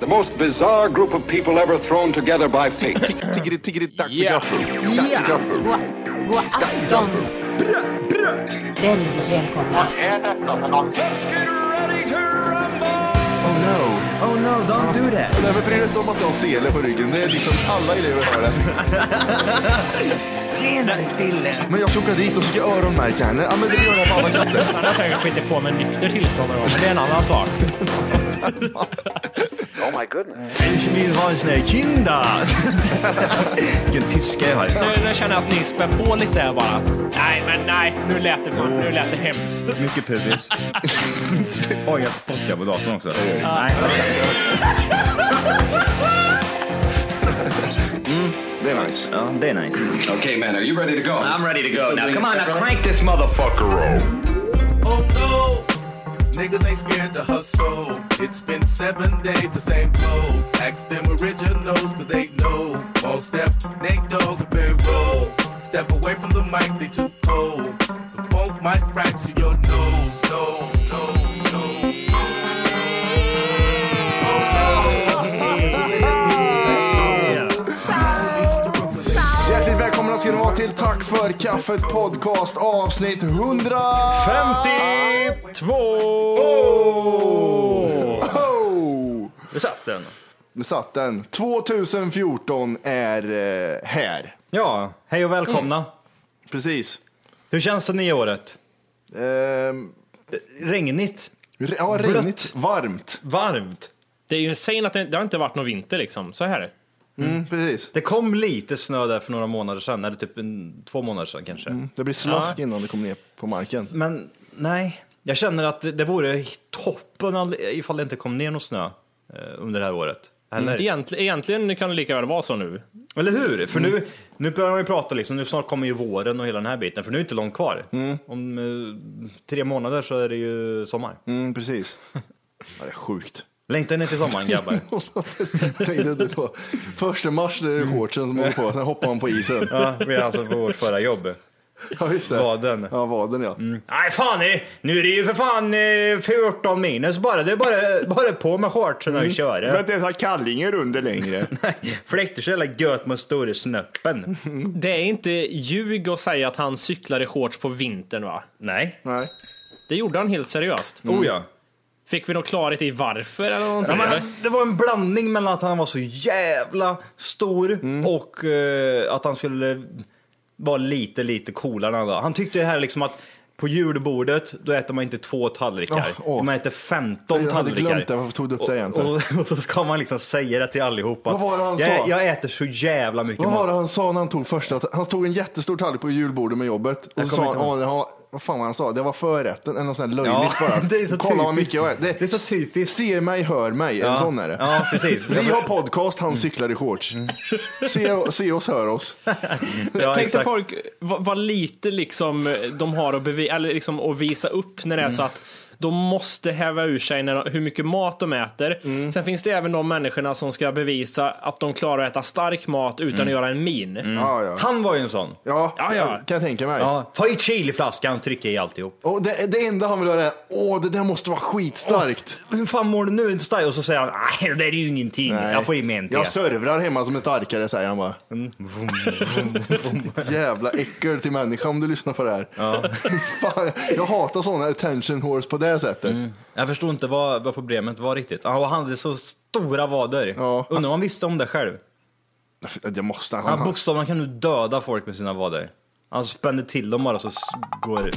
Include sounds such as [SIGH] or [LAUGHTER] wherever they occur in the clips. The most bizarre group of people ever thrown together by fate. Tiggeri, tiggeri, dack för Ja. gaffel. Dack för gaffel. God, god afton. Väldigt välkomna. Oh no. Oh no, don't do that. Nej men bry dig inte om att jag har sele på ryggen. Det är liksom alla elever har det. Senare Dille. Men jag ska åka dit och ska öronmärka henne. Ja men det gör jag på alla katter. Han har säkert skitit på med nykter tillstånd någon gång, men det är en annan sak. Ich will ha [LAUGHS] sina kinder. Vilken tyska jag har. Nu, nu känner jag att ni spär på lite här bara. Nej, men nej, nu lät det, för, nu lät det hemskt. Mycket [LAUGHS] pubis. Oj, jag spottar på datorn också. Nej. Det är nice. Mm. Ja, det är nice. okay, man, are you ready to go? I'm ready to go now. Come on, now crank this motherfucker up. Oh no, niggas ain't scared to hustle. It's been seven days, the same clothes. Ask them originals, cause they know. All step, Nate Dogg, and very roll. Step away from the mic, they too cold. The funk might fracture your nose. No, no, no. Hjärtligt välkomna ska ni vara till Tack för kaffet podcast avsnitt 100. 52! Oh! Där satt den. Nu satt den. 2014 är eh, här. Ja, hej och välkomna. Precis. Hur känns det nya året? Ehm, Regnigt? re- ja, Blött. regnigt. Varmt. Varmt? Det är ju insane att det, det har inte varit någon vinter liksom. Så här. Mm, precis. Det kom lite snö där för några månader sedan, eller typ en, två månader sedan kanske. Det blir slask innan det kommer ner på marken. Men nej, jag känner att det vore toppen all- ifall det inte kom ner någon snö eh, under det här året. Eller, Egent, egentligen kan det lika väl vara så nu. eller hur? För nu, nu börjar man ju prata liksom, nu snart kommer ju våren och hela den här biten, för nu är det inte långt kvar. Om eh, tre månader så är det ju sommar. Mm, precis. Ja, det är sjukt. [LAUGHS] Längtar ni till sommaren [LAUGHS] grabbar? Tänkte du på första mars när det är shortsen som håller på, sen hoppar man på isen. ja, vi är alltså på vårt förra jobb. Ja, just det. Vaden. Ja, vaden ja. Nej fan, eh, nu är det ju för fan eh, 14 minus bara. Det är bara, bara på med shortsen och [LAUGHS] köra. inte ens ha kallingar under längre. Fläkter så jävla gött med store [LAUGHS] snöppen. Det är inte ljug att säga att han cyklade i shorts på vintern va? Nej. [LAUGHS] Nej. Det gjorde han helt seriöst. Mm. Oh ja. Fick vi någon klarhet i varför eller någonting? eller? Men det var en blandning mellan att han var så jävla stor och eh, att han skulle vara lite, lite coolare än andra. Han tyckte det här liksom att på julbordet, då äter man inte två tallrikar. Åh, åh. Man äter 15 Jag hade tallrikar. glömt det, varför tog du upp det igen? Och, och, och så ska man liksom säga det till allihop. att Vad var det han jag, sa?" jag äter så jävla mycket Vad var det mat. han sa när han tog första? Han tog en jättestor tallrik på julbordet med jobbet och Jag så kommer sa inte ihåg. han, "Åh, det har- vad fan var han sa? Det var förrätten eller något sånt där Ja, löjligt bara. [LAUGHS] det är så Kolla vad mycket typiskt. jag äter. Det är så typiskt. Ser mig, hör mig. En sån är det. Ja, Mm. precis. Vi har podcast, han cyklar i shorts. Se, se oss, hör oss. Mm. Ja, Tänk dig exakt. folk, vad, vad lite liksom eh, de har att, bevi- eller liksom att visa upp när det är så Mm. att de måste häva ur sig när de, hur mycket mat de äter. Mm. Sen finns det även de människorna som ska bevisa att de klarar att äta stark mat utan Mm. att göra en min. Ja, ja. Han var ju en sån. Ja, Ja, ja. kan jag tänka mig. Ja, ta i chiliflaskan och trycka i alltihop. Och det, det enda han vill höra är, åh det där måste vara skitstarkt. Hur fan mår du nu? Inte stark. Och så säger han, nej det där är ju ingenting. Nej. Jag får i mig en Mm. till. Jag servrar hemma som är starkare säger han bara. Ditt Jävla äckel till människa om du lyssnar på det här. [LAUGHS] Fan, jag hatar sådana attention horse på det sättet. Mm. Jag förstod inte vad, vad problemet var riktigt. Han, och han hade så stora vader. Ja. Undrar om han visste om det själv. Det måste han. Han han bokstavligen kan nu döda folk med sina vader. Han spänner till dem bara så s- går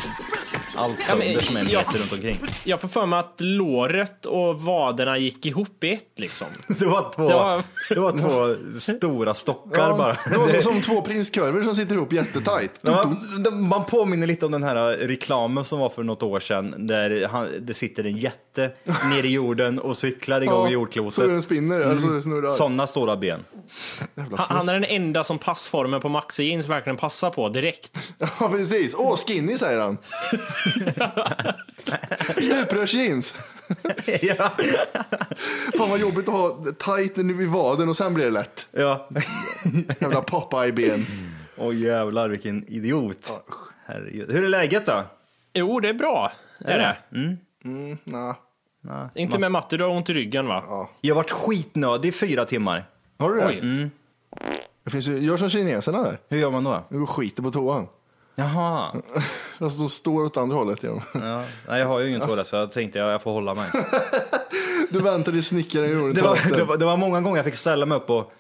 allt Ja, men, sönder som är en ja. meter runt omkring. Jag får för mig att låret och vaderna gick ihop i ett liksom. [LAUGHS] Det var två, Det var- det var två stora stockar ja, bara. det [LAUGHS] var som, som två prinskorvar som sitter ihop jättetajt. Ja, man- de- Man påminner lite om den här reklamen som var för något år sedan där han, det sitter [LAUGHS] en jätte nere i jorden och cyklar igång i Så den jordklotet. Mm. spinner eller så det snurrar. Sådana stora ben. Jävla Han, han är snus. den enda som passformen på Maxi Jeans verkligen passar på direkt. Ja precis. Åh skinny säger [LAUGHS] han. Stuprörsjeans. [LAUGHS] ja, Fan vad jobbigt att ha tajten vid vaden och sen blir det lätt. ja. Jävla Popeye-ben. Åh jävlar vilken idiot. Herregud. Hur är läget då? Mm. Jo, det är bra. Är det? Nah. Inte med matte, du har ont i ryggen va? Jag har varit skitnödig i fyra timmar. Har du det? Oj. det finns ju, gör som kineserna där. Hur gör man då? Du går och skiter på toan. Jaha. Alltså de står åt andra hållet. Ja. Ja. Nej, jag har ju ingen toalett så jag tänkte jag, jag får hålla mig. Du väntar i snickaren i jorden. [LAUGHS] Det var, det, var, det var många gånger jag fick ställa mig upp och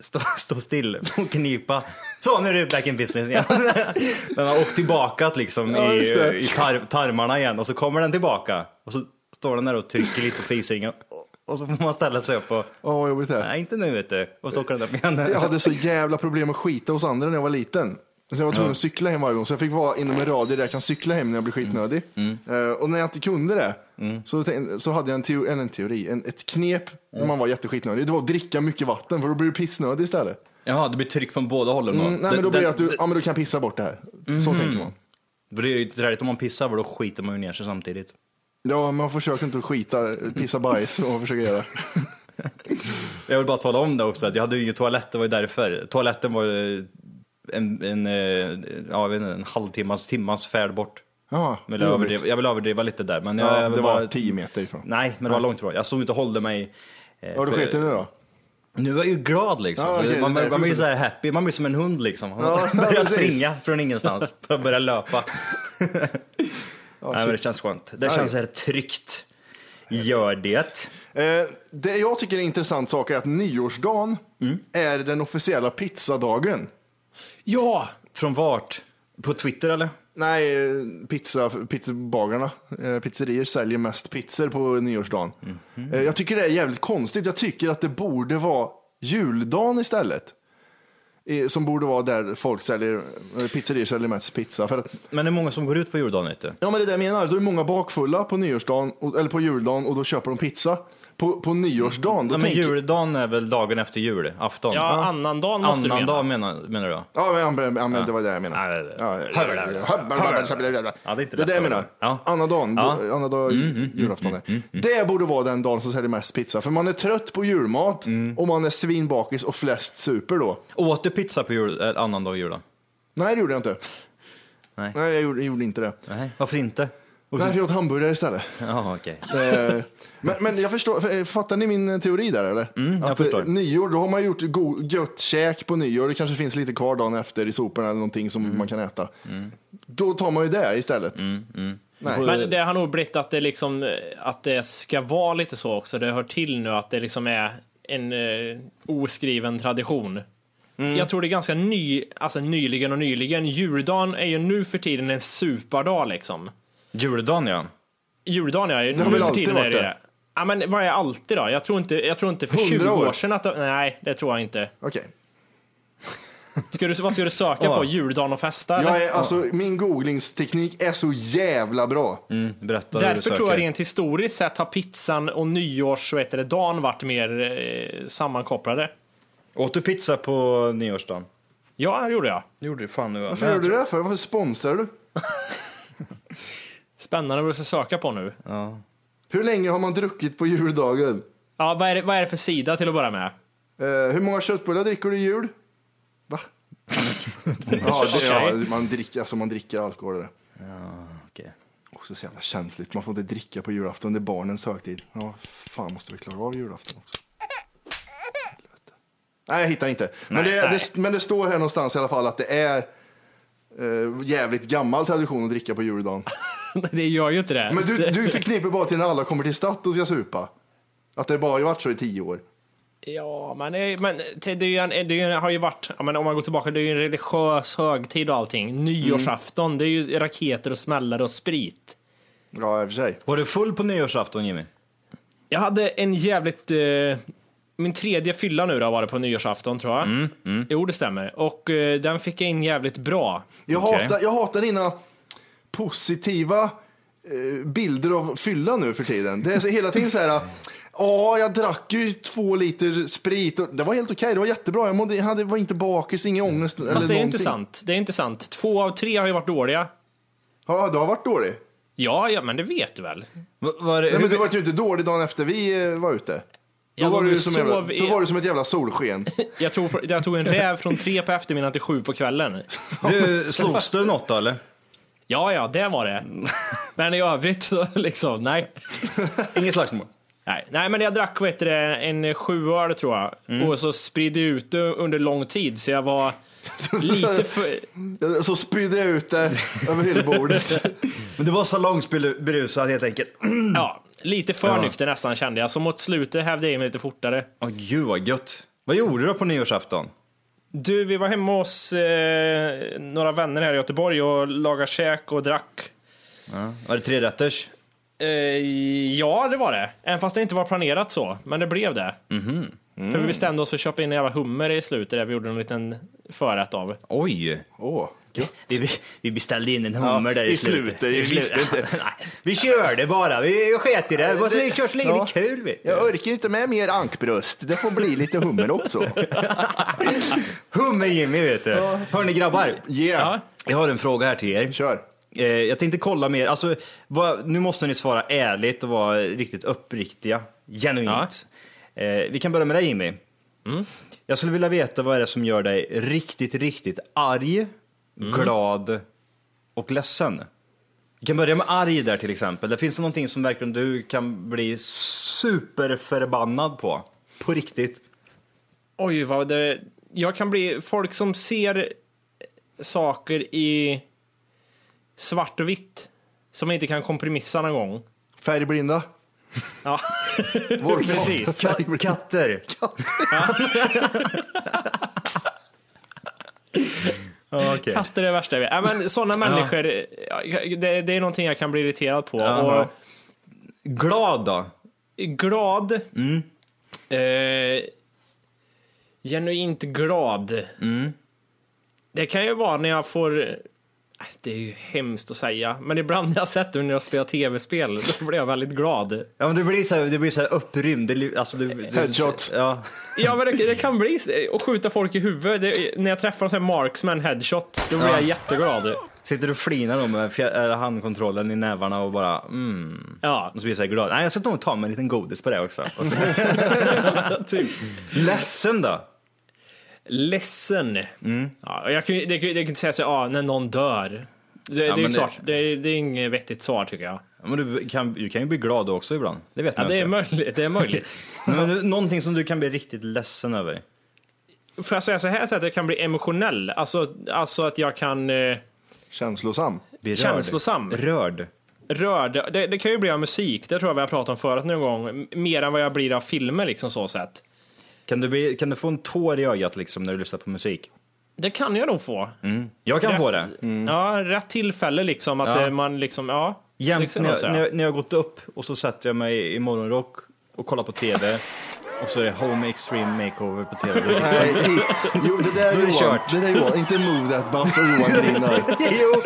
stå, stå still och knipa. Så, nu är det back in business igen. [LAUGHS] Den har åkt tillbaka liksom Ja, i, just det. i tar, tarmarna igen och så kommer den tillbaka och så står den där och trycker lite på fisringen Och- och så får man ställa sig upp och, Åh, vad jobbigt det är. nej inte nu vet du, och så åker den upp igen. Jag hade så jävla problem att skita hos andra när jag var liten. Så jag var tvungen att cykla hem varje gång, så jag fick vara inom en radie där jag kan cykla hem när jag blir skitnödig. Eh, och när jag inte kunde det så, tänk- så hade jag en, teo, eller en teori, en, ett knep när man var jätteskitnödig. Det var att dricka mycket vatten, för då blir du pissnödig istället. Jaha, det blir tryck från båda hållen då? Mm, nej, Det- men då blir det- Mhm. det att du, ja, men du kan pissa bort det här. Så tänker man. det är ju träligt om man pissar för då skiter man ju ner sig samtidigt. Ja, man försöker inte skita, pissa bajs och försöker göra. Jag vill bara tala om det också, att jag hade ju ingen toalett, det var ju därför. Toaletten var eh, en, en, eh, ja, jag vet inte, en halvtimmas, timmas färd bort. Ja, Jag vill, jobbigt. överdriva, jag vill överdriva lite där. Men jag, Ja, jag vill det var bara- tio meter ifrån. Nej, men det var långt ifrån. Jag stod ute och hållde mig. eh, Har du för- skitit nu då? Nu är jag ju glad liksom. Ja, Så okej, man, det är man, man blir ju därför så här happy, man blir som en hund liksom. Han Ja, börjar precis. springa från ingenstans, bara börjar löpa. [LAUGHS] Ja, Nej, men shit. det känns skönt. Det känns så här tryggt. Gör det. Eh, det jag tycker är en intressant sak är att nyårsdagen Mm. är den officiella pizzadagen. Ja! Från vart? På Twitter eller? Nej, eh, pizza, pizzabagarna, eh, pizzerier säljer mest pizzor på nyårsdagen. Eh, Jag tycker det är jävligt konstigt. Jag tycker att det borde vara juldagen istället. Eh, Som borde vara där folk säljer, eh, pizzerier säljer mest pizza. För att, Men det är många som går ut på juldagen vet du. ja men det är det jag menar, då är många bakfulla på nyårsdagen, och- eller på juldagen och då köper de pizza. På, på nyårsdagen, då Nej, men tänker juldagen är väl dagen efter jul, afton? Ja, annandagen måste du mena. Annandag menar, menar du? då? Ja, men, ja, men, ja, men det var det jag menade. Ja, det- Ja, ja, ja, Hör- ja. Hör- Ja, det är inte det lätt jag att- menar. Ja. Annandagen, Ja. Mm, bo- annandag julafton. är. Det borde vara den dagen som säljer mest pizza. För man är trött på julmat Mm. och man är svinbakis och flest super då. Åt du pizza på jul, eh, annandag jul då? Nej, det gjorde jag inte. Nej. Nej, jag gjorde, gjorde inte det. Nej, varför inte? Nej, för jag åt hamburgare istället. Ja, okej. Eh, men, men jag förstår, eh, fattar ni min teori där eller? Mm, jag att eh, förstår. nyår, då har man gjort go- gött käk på nyår, det kanske finns lite kvar dagen efter i soporna eller någonting som Mm. man kan äta. Då tar man ju det istället. Nej. Men det har nog blivit att det, liksom, eh, att det ska vara lite så också. Det hör till nu att det liksom är en eh, oskriven tradition. Mm. Jag tror det är ganska ny, alltså nyligen och nyligen. Juldagen är ju nu för tiden en superdag liksom. Juldagen ja. Juldagen är ju har nu väl för alltid tiden är varit det. det? Ja, men vad är alltid då? Jag tror inte, jag tror inte för 100 20 år år. sedan att det, Nej, det tror jag inte. Okej. Ska du, vad ska du söka på? Juldagen och festa? eller? Jag är, alltså, min googlingsteknik är så jävla bra. Mm, berätta hur du Därför söker. tror jag rent historiskt sett har pizzan och nyårs, vad heter det, dagen varit mer eh, sammankopplade. Åt du pizza på nyårsdagen? Ja, det gjorde jag. Det gjorde du fan nu. Varför gör du det för? Varför sponsrar du? Spännande vad du ska söka på nu. Hur länge har man druckit på juldagen? Ja, vad är, det, vad är det för sida till att börja med? [LAUGHS] Eh, hur många köttbullar dricker du i jul? [LAUGHS] Va? ja, det, ja, man, dricker, alltså, man dricker alkohol. Det. Okej. Också så jävla känsligt. Man får inte dricka på julafton. Det är barnens högtid. Ja, fan måste vi klara av julafton också. Helvete. Nej, jag hittar inte. Men, det, Det, men det står här någonstans i alla fall att det är eh, jävligt gammal tradition att dricka på juldagen. Det gör ju inte det. Men du, du förknippar bara till när alla kommer till stadt och ska supa. Att det bara har varit så i tio år. Ja, men, det- men det, det, är ju en, det är ju- har ju varit, ja, men om man går tillbaka, det är ju en religiös högtid och Mm. allting. Nyårsafton, det är ju raketer och smällare och sprit. Ja, i och för sig. Var du full på nyårsafton Jimmy? Jag hade en jävligt... Eh, min tredje fylla nu då var det på nyårsafton tror jag. Mm, Jo, det stämmer. Och eh, den fick jag in jävligt bra. Jag, Okej. hatar, jag hatar dina positiva eh, bilder av fylla nu för tiden. Det är så, hela tiden så här, ja, jag drack ju två liter sprit och det var helt okej, det var jättebra. Jag mådde, jag hade, var inte bakis, ingen ångest eller Mm. Fast det är ju inte någonting. sant. Det är inte sant. Två av tre har ju varit dåliga. Ja, du har varit dålig. Ja, ja, men det vet du väl? Var, Nej, men du var ju inte dålig dagen efter vi eh, var ute. Då Jag var, låg du och som jävla, sov i- då var du som ett jävla solsken. Jag tog, jag tog en räv från tre på eftermiddagen till sju på kvällen. du, slogs du något då eller? Ja, ja, det var det. Men i övrigt så liksom, nej. Inget slagsmål. Nej, nej men jag drack vet du, det, en sjuöl tror jag. Mm. Och så spridde jag ut det under lång tid så jag var [LAUGHS] lite för... Så spydde jag ut det över hela [LAUGHS] bordet. Men det var salongsberusad helt enkelt. Ja, lite för nykter nästan kände jag. Så mot slutet hävde jag in mig lite fortare. Åh gud vad gött. Vad gjorde du då på nyårsafton? Du, vi var hemma hos eh, några vänner här i Göteborg och lagade käk och drack. Var det trerätters? Eh, ja, det var det. Även fast det inte var planerat så. Men det blev det. För vi bestämde oss för att köpa in en jävla hummer i slutet där vi gjorde en liten förrätt av. Oj! Åh, gött. Vi, vi beställde in en hummer Ja, där i, i slutet. Vi visste [LAUGHS] inte. vi körde bara, vi sket i det. Vad vi kör så länge Ja. det är kul. Vet du. Jag orkar inte med mer ankbröst. Det får bli lite hummer [LAUGHS] också. Hummer-Jimmy vet du. Hörni grabbar, Yeah, Ja. jag har en fråga här till er. kör. Eh, jag tänkte kolla med er, alltså, vad, nu måste ni svara ärligt och vara riktigt uppriktiga, genuint. Eh, vi kan börja med dig Jimmy. Jag skulle vilja veta vad är det som gör dig riktigt, riktigt arg, glad och ledsen? Vi kan börja med arg där till exempel. Det finns någonting som verkligen du kan bli superförbannad på. På riktigt. Oj, vad det... Jag kan bli... Folk som ser saker i svart och vitt som inte kan kompromissa någon gång. Färgblinda. [LAUGHS] Ja. Vår- Ka- katter. [LAUGHS] Ja, okej. Katter är det värsta jag vet. Ja, men sådana människor, ja, det, det är någonting jag kan bli irriterad på. Ja. Och Glad då? glad. Eh, genuint glad. Det kan ju vara när jag får... eh, Det är ju hemskt att säga, men ibland när jag sett det när jag spelar tv-spel, då blir jag väldigt glad. Ja, men du blir så här, du blir så här upprymd. Det, li- alltså, du, du, Headshots. Ja. Ja, men det, det kan bli s- att skjuta folk i huvudet. Det, när jag träffar en sån här marksman headshot, då blir jag jätteglad. Sitter du och flinar då med fjär, eller handkontrollen i nävarna och bara mm. Ja, Och så blir jag så här glad. Nej, jag ska nog ta mig en liten godis på det också. Och så, [LAUGHS] typ. ledsen då? Ledsen. Ja, och jag kan ju det kan ju- det kan inte säga så ah, när någon dör. Det, det är men ju det- klart, det, är- det är inget vettigt svar tycker jag. Ja, Men du, kan, du kan ju bli glad också ibland. Det vet Ja, man det ju är inte. möjligt. Det [LAUGHS] är möjligt. Men du- någonting som du kan bli riktigt ledsen över. Får jag säga så här, så att jag kan bli emotionell? Alltså, alltså att jag kan eh, Känslosam. Bli rörd. Känslosam. Rörd. röra... Det, det kan ju bli av musik, det tror jag vi har pratat om förut någon gång. m- Mer än vad jag blir av filmer liksom så sett. Kan du, bli, kan du få en tår i ögat liksom när du lyssnar på musik? Det kan jag nog få. Jag kan Rätt- få det. Ja, rätt tillfälle liksom. Att Mm. Ja. eh, man liksom, ja. det Jämt kan när jag jag, säga. när, jag, när jag gått upp och så sätter jag mig i morgonrock och kollar på TV och så är det Home Extreme Makeover på [LAUGHS] TV. Då- Nej, i- jo, det där Då är det Johan. kört. Det där Johan. Inte move that bus och Johan grinar. [LAUGHS] jo!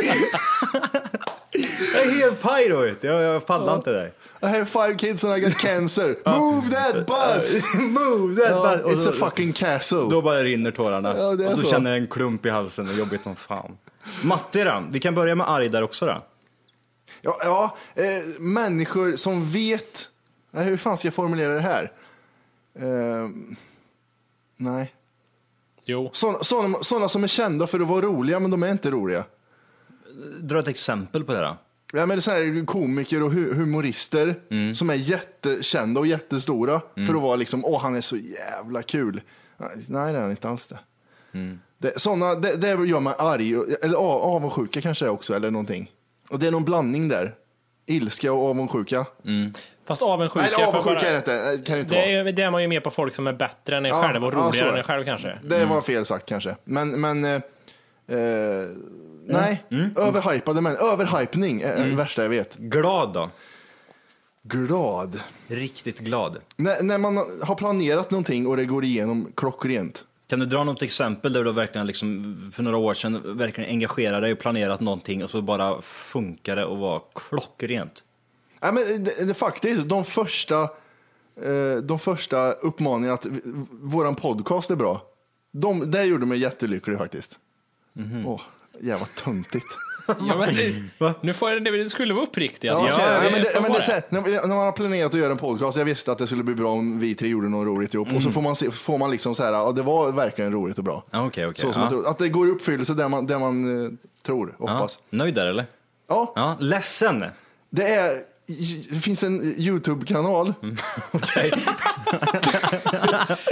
jag är helt paj då vet du. jag, jag pallar inte [LAUGHS] där. I have five kids and I got cancer. Move that bus! Move [LAUGHS] that Ja, button. Och it's så- a fucking castle. Då bara rinner tårarna Ja, och det är då så. känner jag en klump i halsen och jobbigt som fan. Matte då, vi kan börja med arg där också då. Ja, ja eh, människor som vet... Nej, hur fan ska jag formulera det här? Eh, nej. Jo. Sådana såna, såna som är kända för att vara roliga, men de är inte roliga. Dra ett exempel på det då. Ja, men det är så här komiker och hu- humorister som är jättekända och jättestora för att vara liksom, åh han är så jävla kul. Nej, det är han inte alls det. det såna, det, det gör mig arg, och- eller av, avundsjuka kanske det är också, eller någonting. Och det är någon blandning där. Ilska och avundsjuka. Fast avundsjuka. Nej, eller får avundsjuka bara- är det inte, eh, kan det inte vara. Det är, det är man ju med på folk som är bättre än en Ja, själv och ja, så roligare är än det. en [LAUGHS] själv kanske. Det var fel sagt kanske. Men, men eh, eh, nej, överhypade män. Överhypning är det värsta jag vet. Glad då? Glad. Riktigt glad. När, när man har planerat någonting och det går igenom klockrent. Kan du dra något exempel där du verkligen liksom, för några år sedan verkligen engagerade dig och planerat någonting och så bara funkade och var klockrent? Nej, men det, det, faktiskt, de första, eh, de första uppmaningarna att v- våran podcast är bra, de, det gjorde mig jättelycklig faktiskt. Mhm. Åh, jävla [LAUGHS] töntigt. Ja, men, nu får jag, det skulle vara uppriktigt. Ja, Alltså. okej. Nej, men visst, det, men det var är så här, när, när man har planerat att göra en podcast, jag visste att det skulle bli bra om vi tre gjorde något roligt ihop. Och så får man, se, får man liksom så här, ja, det var verkligen roligt och bra. Mm. Ja, okej, okej, så som ja. jag tror. Att det går i uppfyllelse där man, där man eh, tror, Ja. hoppas. Nöjd där eller? Ja, Ja, ledsen. det är... Det finns en YouTube-kanal. Mm.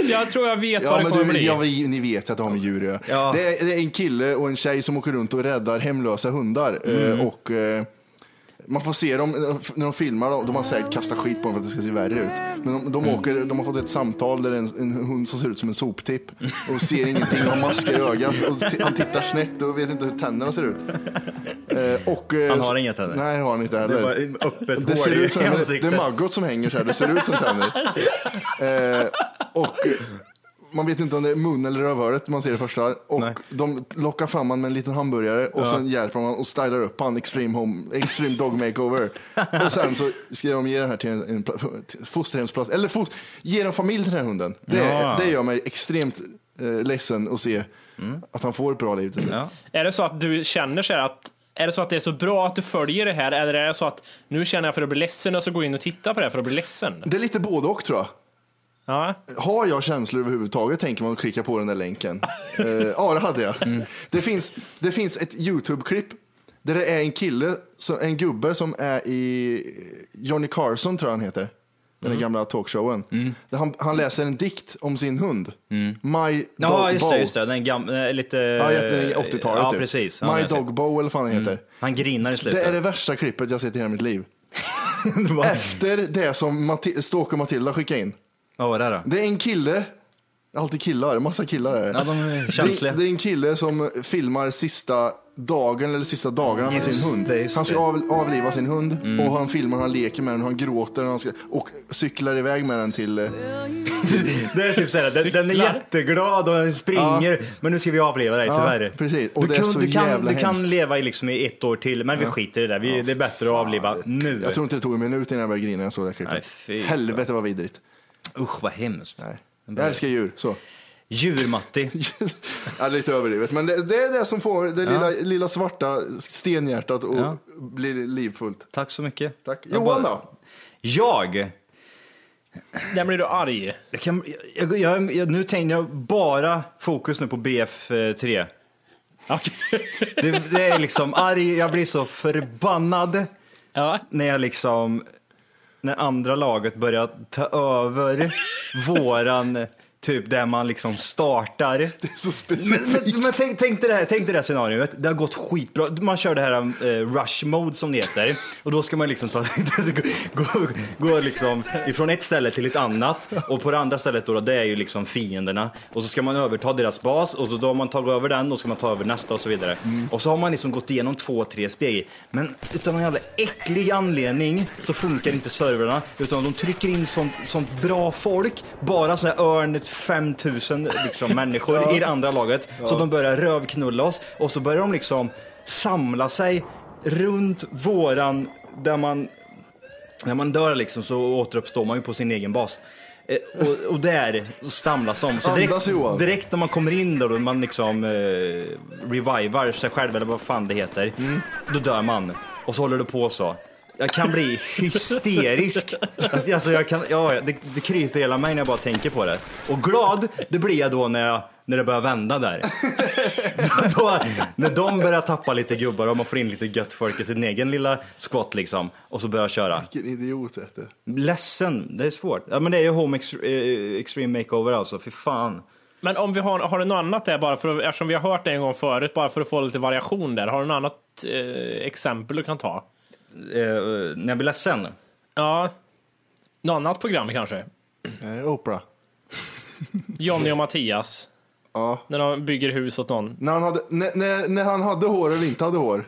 Jag tror jag vet Ja, vad det men kommer du, bli. ja, vi, ni vet att det har med djur att göra. Ja. det, är, det är en kille och en tjej som åker runt och räddar hemlösa hundar. eh, Mm. Och eh, man får se dem eh, när de filmar, dem. de har säkert kastat skit på dem för att det ska se värre ut. Men de, de, Mm. åker, de har fått ett samtal där det är en, en hund som ser ut som en soptipp och ser ingenting och har mask i ögat. Och t- han tittar snett och vet inte hur tänderna ser ut. Eh, och, eh, Han har inga tänder. Nej, det har han inte heller. Det var en öppet Det hår ser i ut som det ansiktet. är maggot som hänger så här. Det ser ut som tänder. Eh, och eh, man vet inte om det är mun eller rövhålet man ser det första. Och Nej. de lockar fram han med en liten hamburgare och sen hjälper man och stylar upp han extreme, home, extreme dog makeover. och sen så ska de ge den här till en, en pla- till fosterhemsplats. Eller fos, ge en familj till den här hunden. Det, Ja. det gör mig extremt eh, ledsen att se att han får ett bra liv till slut. Mm. Ja. Är det så att du känner så här att är det så att det är så bra att du följer det här eller är det så att nu känner jag för att bli ledsen och så går jag in och tittar på det här för att bli ledsen? Det är lite både och tror jag. Ja. Har jag känslor överhuvudtaget tänker man och klickar på den där [LAUGHS] länken. Eh, ja, det hade jag. Mm. Det, finns, det finns ett YouTube-klipp där det är en kille, som- en gubbe som är i Johnny Carson tror jag han heter. Den Mm. gamla talkshowen. Där han, han läser en dikt om sin hund. My Mm. Ja, Dog just Bo. det, just det. Den gamla, lite... Ja, jätte- 80-talet Ja, typ. precis. Ja, My jag har Dog sett. Mm. Bow eller vad han heter. Han grinar i Det slutet. är det värsta klippet jag sett i hela mitt liv. Efter det som Mati- Stalker Matilda skickade in. [LAUGHS] Vad var det då? Det är en kille, alltid killar, massa killar är det. Ja, de är känsliga. Det, det är en kille som filmar sista dagen eller sista dagarna med Just sin hund. det, just han ska det. Mm. av, avliva sin hund och han filmar, han leker med den, han gråter han ska, och cyklar iväg med den till... eh, [LAUGHS] Det är typ såhär, den, den är Cyklar. jätteglad och den springer, men nu ska vi avleva dig tyvärr. precis. Och du det är kan, så du kan, jävla du kan hemskt. leva i, liksom, i ett år till, men vi skiter i det där. Vi, det är bättre att avliva nu. Jag tror inte det tog en minut innan jag började grina när jag såg det här Nej, klippet. fy fan. Helvete vad vidrigt. Usch vad hemskt. Nej. Jag älskar djur, så. [LAUGHS] Djur Matti. ja, lite överdrivet, men det, det är det som får det lilla, lilla svarta stenhjärtat att Ja. bli livfullt. Tack så mycket. Tack. Jag Johan bara- då? Jag? Där blir du arg. Jag kan, jag, jag, jag, nu tänker jag bara fokus nu på BF3. Det, det är liksom arg, jag blir så förbannad [LAUGHS] Ja. när jag liksom, när andra laget börjar ta över våran, typ där man [LAUGHS] liksom startar. Så Men, specifikt. men, men tänk, tänk, dig det här, tänk dig det här scenariot, det har gått skitbra. Man kör det här eh, rush mode som det heter och då ska man liksom ta, [LAUGHS] gå, gå liksom ifrån ett ställe till ett annat och på det andra stället då, det är ju liksom fienderna och så ska man överta deras bas och så då har man tagit över den och ska man ta över nästa och så vidare. Mm. Och så har man liksom gått igenom två, tre steg. Men utan någon jävla äcklig anledning så funkar inte servrarna utan de trycker in sånt, sånt bra folk, bara sådana här örn 5000 liksom, människor i det andra laget. Så de börjar rövknulla oss och så börjar de liksom samla sig runt våran, där man när man dör liksom så återuppstår man ju på sin egen bas. Eh, Och, och där stamlas de. Så Andas, direkt, Johan. direkt när man kommer in då, då man liksom eh, revivar sig själv eller vad fan det heter, Mm. då dör man. Och så håller det på så. Jag kan bli hysterisk. Alltså, alltså jag kan, ja, det, det kryper hela mig när jag bara tänker på det. Och glad, det blir jag då när, jag, när det börjar vända där. [LAUGHS] då, då, när de börjar tappa lite gubbar och man får in lite gött folk i sin egen lilla squat liksom. Och så börjar köra. Vilken idiot vet du. Ledsen, det är svårt. Ja, men det är ju Home ex- eh, Extreme Makeover alltså, för fan. Men om vi har, har du något annat där bara för att, eftersom vi har hört det en gång förut, bara för att få lite variation där. Har du något annat eh, exempel du kan ta? Eh, eh, när jag blir ledsen. Ja. Något annat program kanske? Mm. Eh, Oprah. Jonny och Mattias. Ja. När de bygger hus åt någon. När han, hade, när, när, när han hade hår eller inte hade hår.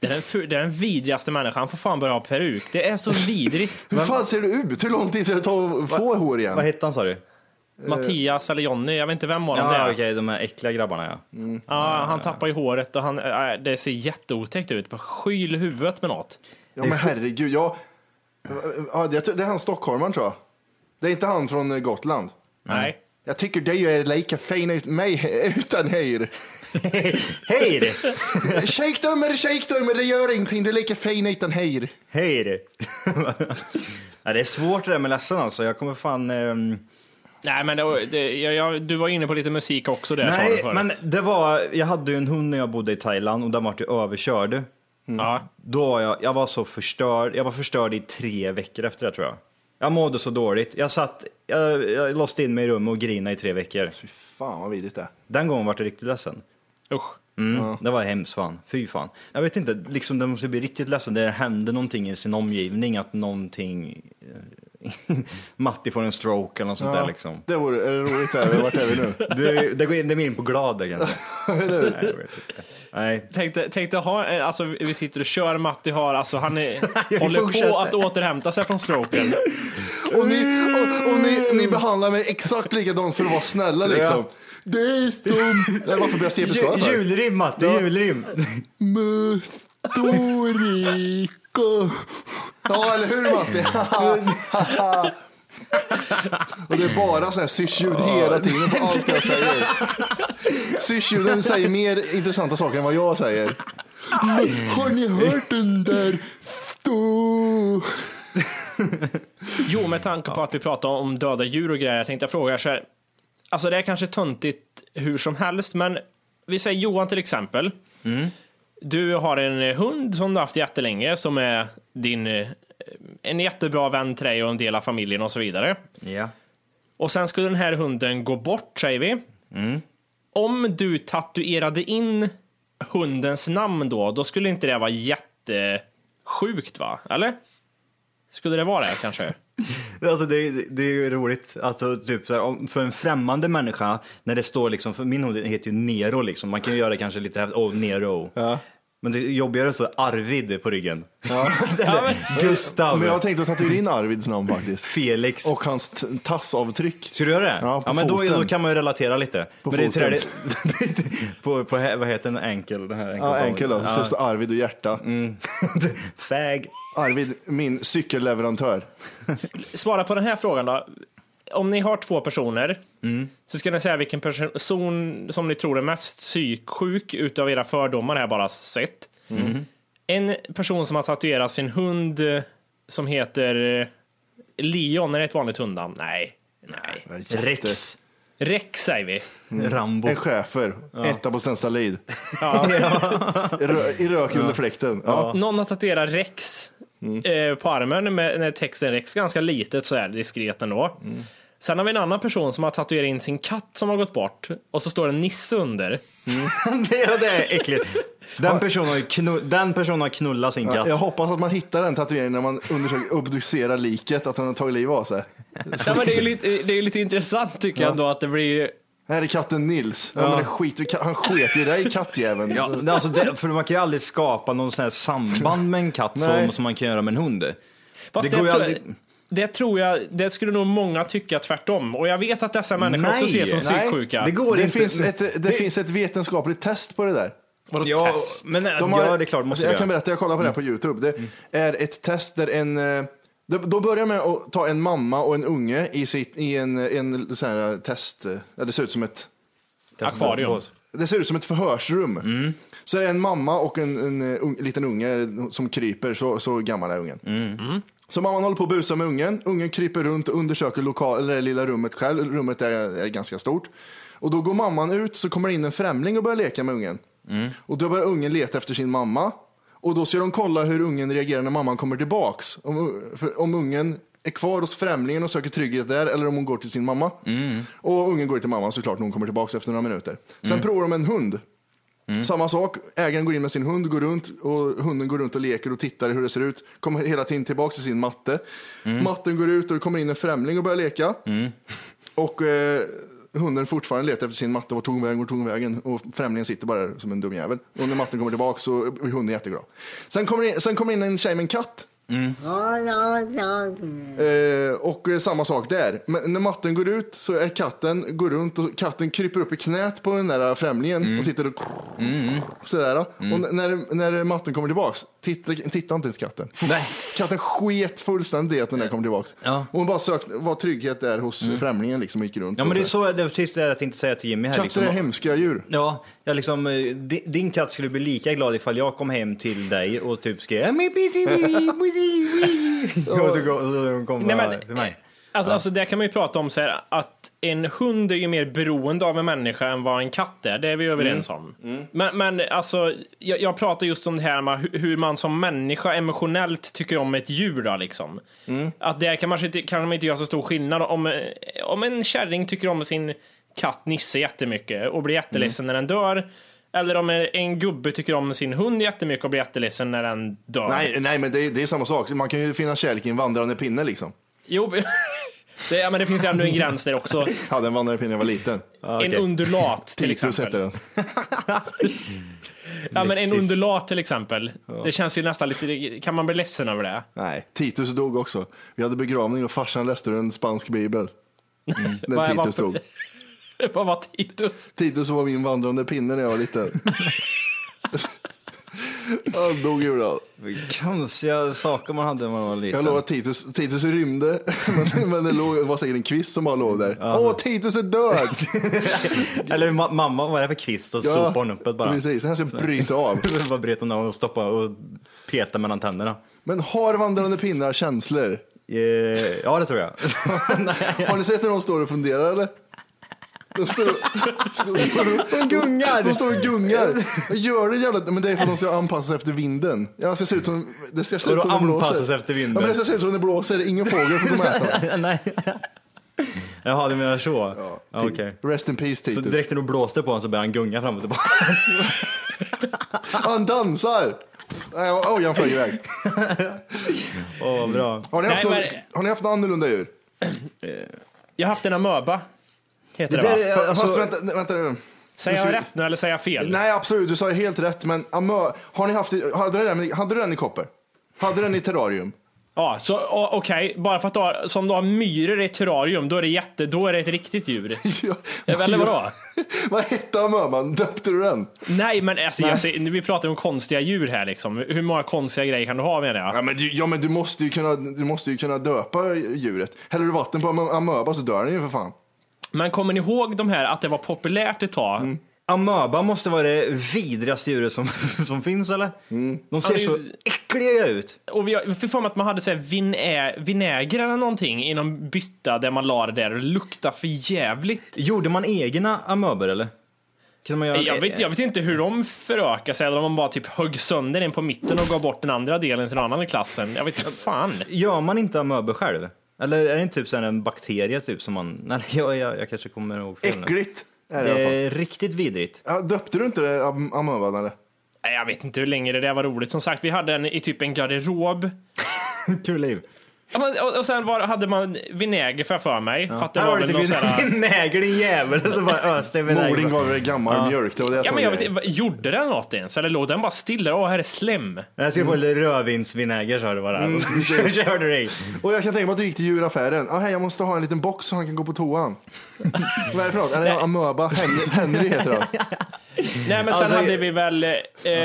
Det är den, fu- det är den vidrigaste människan. Han får fan börja ha peruk. Det är så [LAUGHS] vidrigt. Hur fan ser du ut? Hur lång tid ska det ta att få hår igen? Vad hette han sa du? Mattias eller Jonny, jag vet inte vem av dem det Ja, är. okej, de här äckliga grabbarna ja. Ja, han tappar ju håret och han, äh, det ser jätteotäckt ut. Bara Skyl huvudet med något. Ja men herregud, jag... Ja, det, det är han stockholmaren tror jag. Det är inte han från eh, Gotland. Nej. Jag tycker du är lika fin ut mig utan hår. Hej det! Shakedömer, shakedömer, det gör ingenting. Du är lika fin utan hår. Hej det! [LAUGHS] ja, det är svårt det där med ledsen alltså. Jag kommer fan... ehm, Nej, men det, det, jag, jag, du var inne på lite musik också där sa du Nej, förut. men det var... Jag hade ju en hund när jag bodde i Thailand och den vart ju överkörd. Mm. Ja. Då var jag, jag var så förstörd. Jag var förstörd i tre veckor efter det tror jag. Jag mådde så dåligt. Jag satt, jag, jag låste in mig i rummet och grinade i tre veckor. Fy fan vad vidrigt det är. Den gången vart jag riktigt ledsen. Usch. Mm, Det var hemskt fan, fy fan. Jag vet inte, liksom den måste bli riktigt ledsen. Det händer någonting i sin omgivning, att någonting... eh, [LAUGHS] Matti får en stroke eller något sånt där liksom. Det vore är det roligt. Är det, vart är vi nu? Det, det, går in, det går in på glada kanske. Nej, jag vet inte. Nej. Tänkte, tänkte ha, eh, alltså vi sitter och kör, Matti har, alltså [LAUGHS] han är, håller på fortsätter. att återhämta sig från stroken. Och ni, och, och ni, ni behandlar mig exakt likadant för att vara snälla liksom. Det är [LAUGHS] som... Nej, varför blir jag CP skadad Ju- för? Julrim Matti, julrim. Mustorika. Ja, eller hur Matti? [LAUGHS] Och det är bara så här syrsljud hela tiden på allt jag säger. Syrsljuden säger mer intressanta saker än vad jag säger. Har ni hört den där stå... Jo, med tanke på att vi pratar om döda djur och grejer, jag tänkte fråga er så här. Alltså det är kanske töntigt hur som helst, men vi säger Johan till exempel. Du har en eh, hund som du har haft jättelänge, som är din, eh, en jättebra vän till dig och en del av familjen och så vidare. Ja. Och sen skulle den här hunden gå bort, säger vi. Om du tatuerade in hundens namn då, då skulle inte det vara jättesjukt va? Eller? Skulle det vara det kanske? [LAUGHS] Alltså det, det- det är ju roligt, alltså, typ, så här, om, för en främmande människa, när det står liksom, för min hund heter ju Nero liksom, man kan ju göra det kanske lite häftigt, oh Nero. Men det jobbigare så Arvid på ryggen. [LAUGHS] Eller Gustav, Men jag tänkte att tatuera in Arvids namn faktiskt. Felix. Och hans t- tassavtryck. Ska du göra det? Ja, på men då, foten. då kan man ju relatera lite. På men det är foten. trädigt- [LAUGHS] på, på, hä- vad heter den, enkel? Den här enkel Ja, Mm. enkel då. Så står Arvid och hjärta. [LAUGHS] Fag. Arvid, min cykelleverantör. Svara på den här frågan då. Om ni har två personer, så ska ni säga vilken person som ni tror är mest psyksjuk utav era fördomar här bara sett. En person som har tatuerat sin hund eh, som heter eh, Leon, är det ett vanligt hundnamn? Nej. Nej. Rex. Rex säger vi. [LAUGHS] Rambo. En schäfer, etta på [LAUGHS] Stenstalid. I, rö- I rök under fläkten. Ja. Någon har tatuerat Rex eh, på armen med med texten Rex ganska litet så är det diskret ändå. Sen har vi en annan person som har tatuerat in sin katt som har gått bort och så står det Nisse under. det, är- det är [LAUGHS] äckligt. Den personen har, ju knu- den personen har knullat sin katt. Jag hoppas att man hittar den tatueringen när man undersöker obducerar liket, att den har tagit liv av sig. Ja, men det är ju lite, det är ju lite intressant tycker jag ändå att det blir ju... Här är katten Nils. Ja. men det skiter, i ka- han sket ju i dig kattjäveln. [LAUGHS] Ja, det- alltså det, för man kan ju aldrig skapa någon sån här samband med en katt Nej. som, som man kan göra med en hund. Fast Det det, går ju tror, aldrig- det tror jag, det skulle nog många tycka tvärtom. Och jag vet att dessa människor Nej, också ses som nej, psyksjuka. det går det, inte. finns ett, det, finns ett vetenskapligt test på det där. Vadå ja, test? men nej, De har- Alltså, ja, det är klart måste jag kan vi göra. Mm. berätta, jag kollade på det här på YouTube. Det är ett test där en... eh, de- Då börjar jag med att ta en mamma och en unge i, sitt, i en, en sån här test. eh, Det ser ut som ett Akvarium. Det ser ut som ett förhörsrum. Så är det en mamma och en, en, eh, ung- liten unge som kryper, så, så gammal är ungen. Så mamman håller på att busa med ungen, ungen kryper runt och undersöker lokal, eller det lilla rummet själv, rummet är, är ganska stort. Och då går mamman ut så kommer det in en främling och börjar leka med ungen. Och då börjar ungen leta efter sin mamma. Och då ska de kolla hur ungen reagerar när mamman kommer tillbaks. Om, för, om ungen är kvar hos främlingen och söker trygghet där eller om hon går till sin mamma. Och ungen går ju till mamman såklart när hon kommer tillbaks efter några minuter. Sen provar de en hund. Samma sak, ägaren går in med sin hund, går runt och hunden går runt och leker och tittar hur det ser ut. Kommer hela tiden tillbaks till sin matte. Matten går ut och det kommer in en främling och börjar leka. Och eh, hunden fortfarande letar efter sin matte. Vart tog hon vägen? Vart tog hon vägen? Och främlingen sitter bara där som en dum jävel. Och när matten kommer tillbaka så är hunden jätteglad. Sen kommer in, sen kommer in en tjej med en katt. Eh, och eh, samma sak där. Men när matten går ut så är katten, går runt och katten kryper upp i knät på den där främlingen Mm. och sitter och sådär. Och n- när, när matten kommer tillbaks, titta, titta inte ens katten. Nej. Katten sket fullständigt i att den där kom tillbaks. Ja. Mm. Och hon bara sökte, var trygghet där hos främlingen liksom och gick runt. Ja men det är och sådär. så, det är precis det jag tänkte säga till Jimmy här. Katter Liksom. är hemska djur. Ja, jag liksom, eh, di- din katt skulle bli lika glad ifall jag kom hem till dig [LAUGHS] och typ skrev "Mippi, sibi, musi, bi." [LAUGHS] Och så kom- och så kom Nej, hon men, till mig. Alltså, alltså det kan man ju prata om så här, att en hund är ju mer beroende av en människa än vad en katt är. Det är vi Mm. överens om. Men, men alltså, jag, jag pratar just om det här med hu- hur man som människa emotionellt tycker om ett djur då, liksom. Mm. Att där kan man inte, kan man inte göra så stor skillnad. Om, eh, om en kärring tycker om sin katt Nisse jättemycket och blir jätteledsen Mm. när den dör. Eller om en- en gubbe tycker om sin hund jättemycket och blir jätteledsen när den dör. Nej, nej men det är, det är samma sak. Man kan ju finna kärlek i en vandrande pinne liksom. Jo, [LAUGHS] det, ja, men det finns ju ändå en gräns [LAUGHS] där också. Jag hade en vandrande pinne när jag var liten. En undulat till Titus hette exempel. den. Ja, men en undulat till exempel. Det känns ju nästan lite, kan man bli ledsen över det? [LAUGHS] Nej, Titus dog också. Vi hade begravning och farsan läste ur en spansk bibel. Mm. När [LAUGHS] Vad- Titus varför- dog. Vad var Titus? Titus var min vandrande pinne när jag var [LAUGHS] liten. Han dog ju då. Konstiga saker man hade när man var liten. Jag lovar att Titus, Titus rymde, [LAUGHS] men, men det, låg, det var säkert en kvist som bara låg där. Åh, Titus är [LAUGHS] död! Eller ma- mamma, vad är det för kvist? Och så sopade hon upp det bara. Precis, han ska bryta [LAUGHS] av. Så bara bröt hon av och stoppade och petade mellan tänderna. Men har vandrande pinnar känslor? Eh, ja, det tror jag. [LAUGHS] Nej. Har ni sett när de står och funderar eller? De står, de står, de gungar! De står och gungar. Vad gör det jävla... Men det är för att de ska anpassa sig efter vinden. Ja, det ska se ut som det, ska se Och ut då som det blåser. anpassas efter vinden. Ja, men det ska se ut som det blåser. Ingen fågel får komma äta. Nej. Jaha, du menar så? Ja. Okej. Rest in peace Så Titus. direkt när du blåste på honom så började han gunga fram och tillbaka. Han dansar! Nej, Oj, han flög iväg. [LAUGHS] Åh, vad bra. Har ni haft, Nej, något, men- har ni haft något annorlunda djur? Jag har haft en amöba. Heter det, Det va? där- Fast alltså- vänta, nej, vänta nu. Säger Nu jag ska- rätt nu eller säger jag fel? Nej, absolut. Du sa ju helt rätt. Men amö, har ni haft, hade, du den, hade du den i koppar? Hade du den i terrarium? Ja, så o- okej, bara för att du har, som du har myror i ett terrarium, då är det jätte, då är det ett riktigt djur. Eller vadå? [LAUGHS] Vad hette amöban? Döpte du den? Nej, men alltså, Jag ser, nu, vi pratar ju om konstiga djur här liksom. Hur många konstiga grejer kan du ha menar jag? Ja men, du, ja, men du, måste ju kunna, du måste ju kunna döpa djuret. Häller du vatten på am- amöba så dör den ju för fan. Men kommer ni ihåg de här, att det var populärt ett tag? Amöba måste vara det vidrigaste djuret som, [LAUGHS] som finns eller? De ser Ja, det är så ju- äckliga ut. Och vi har, för fan att man hade så här vinä, vinäger eller någonting i någon bytta där man la det där och det luktade för jävligt. Gjorde man egna amöbor eller? Kunde man göra Jag vet, jag vet inte hur de förökar sig eller om man bara typ högg sönder en på mitten och gav bort den andra delen till någon annan i klassen. Jag vet inte fan. Gör man inte amöbor själv? Eller är det inte typ så här en bakterie typ som man... [LAUGHS] Nej, jag, jag, jag kanske kommer ihåg fel nu. Äckligt är det i Det alla fall. är riktigt vidrigt. Ja, döpte du inte det, am- amöban eller? Nej, Jag vet inte hur länge det där var roligt. Som sagt, vi hade en i typ en garderob. [LAUGHS] Kul liv. Ja, men- Och, och sen var, hade man vinäger för, för mig. För att det Här var har du väl någon sån typ här... vinäger din jävel och så bara öste vinäger. Morin gav dig gammal mjölk, det var det Ja, som men jag var vet, grejen. inte, vad- gjorde den något ens? Eller låg den bara stilla? Åh, här är slem. Jag skulle få lite rödvinsvinäger sa du bara. Mm, [LAUGHS] så körde du i. Och jag kan tänka mig att du gick till djuraffären. Ah, hej, jag måste ha en liten box så han kan gå på [LAUGHS] toan. Vad är det för något? Är det amöba? [LAUGHS] Henry, Henry heter han. Nej, men sen Alltså, hade vi väl eh,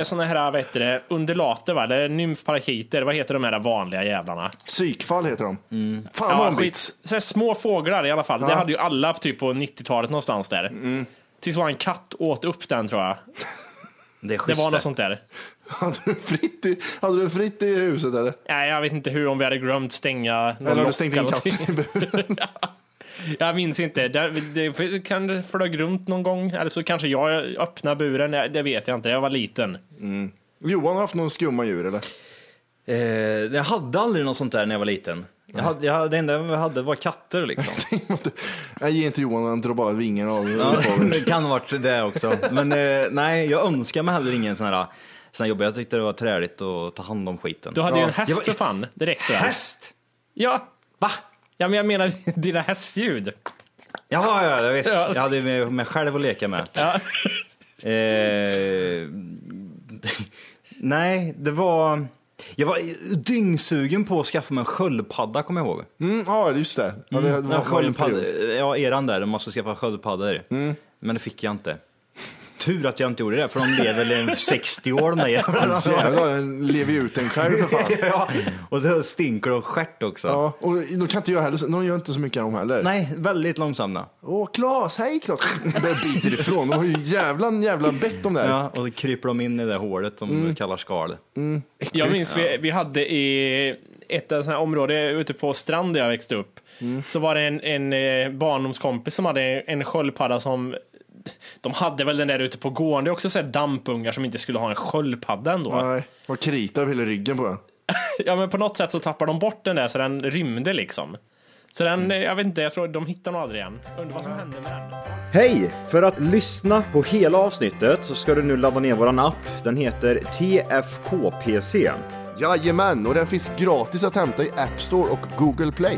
såna här, vad heter det, undulater va? Eller nymfparakiter, vad heter de här vanliga jävlarna? Psykfall heter de. Fan vad de bits. Så här, små fåglar i alla fall. Det hade ju alla typ på 90-talet någonstans där. Mm. Tills var en katt åt upp den tror jag. Det är Det schysst. var något sånt där. Hade du fritt i, hade du fritt i huset eller? Nej, jag vet inte hur, om vi hade glömt stänga någon Eller har du lock stängt in någonting. katten i buren? [LAUGHS] Jag minns inte. Det, det kan det flög runt någon gång. Eller så kanske jag öppnade buren. Det- Det vet jag inte. Jag var liten. Johan har haft någon skumma djur eller? Eh, jag hade aldrig något sånt där när jag var liten. Jag hade, jag hade, det enda jag hade var katter liksom. Jag ger inte Johan, han drar bara vingarna av. [LAUGHS] Ja, det kan ha varit det också. Men eh, nej, jag önskar mig heller ingen sån här, sån här jobb. Jag tyckte det var träligt att ta hand om skiten. Du hade ju en häst Jag var- för fan. Det räckte väl? Häst? Ja. Va? ja, men jag menar [LAUGHS] dina hästljud. Jaha, ja, ja, visst. Ja. Jag hade ju med mig själv att leka med. Ja. Eh, [LAUGHS] nej, det var... Jag var dyngsugen på att skaffa mig en sköldpadda, kommer jag ihåg. Mm, ja, just det. Ja, det var- var Mm. Ja, en sköldpadda, period. Mm. ja, eran där, de måste skaffa sköldpaddor. Men det fick jag inte. Tur att jag inte gjorde det, för de lever väl i 60 år de [LAUGHS] där jävlarna. Jävlar, den lever ju ut den själv för fan. [LAUGHS] ja, och så stinker de stjärt också. Ja, och de kan inte jag heller, de gör inte så mycket av dem heller. Nej, väldigt långsamma. Åh, Klas, hej Klas! De biter ifrån, de har ju jävla, jävla bett de där. Ja, och Mm. så kryper de in i det hålet de kallar skal. Jag minns vi, vi hade i ett sånt här område ute på strand där jag växte upp. Så var det en, en eh, barndomskompis som hade en sköldpadda som de hade väl den där ute på gården. Det är också så här dampungar som inte skulle ha en sköldpadda ändå. Nej, och krita över hela ryggen på den. Ja, men på något sätt så tappar de bort den där så den rymde liksom. Så den, jag vet inte, jag tror de hittar nog aldrig igen. Undrar vad som hände med den. Hej! För att lyssna på hela avsnittet så ska du nu ladda ner våran app. Den heter TFKPC. Jajamän, och den finns gratis att hämta i App Store och Google Play.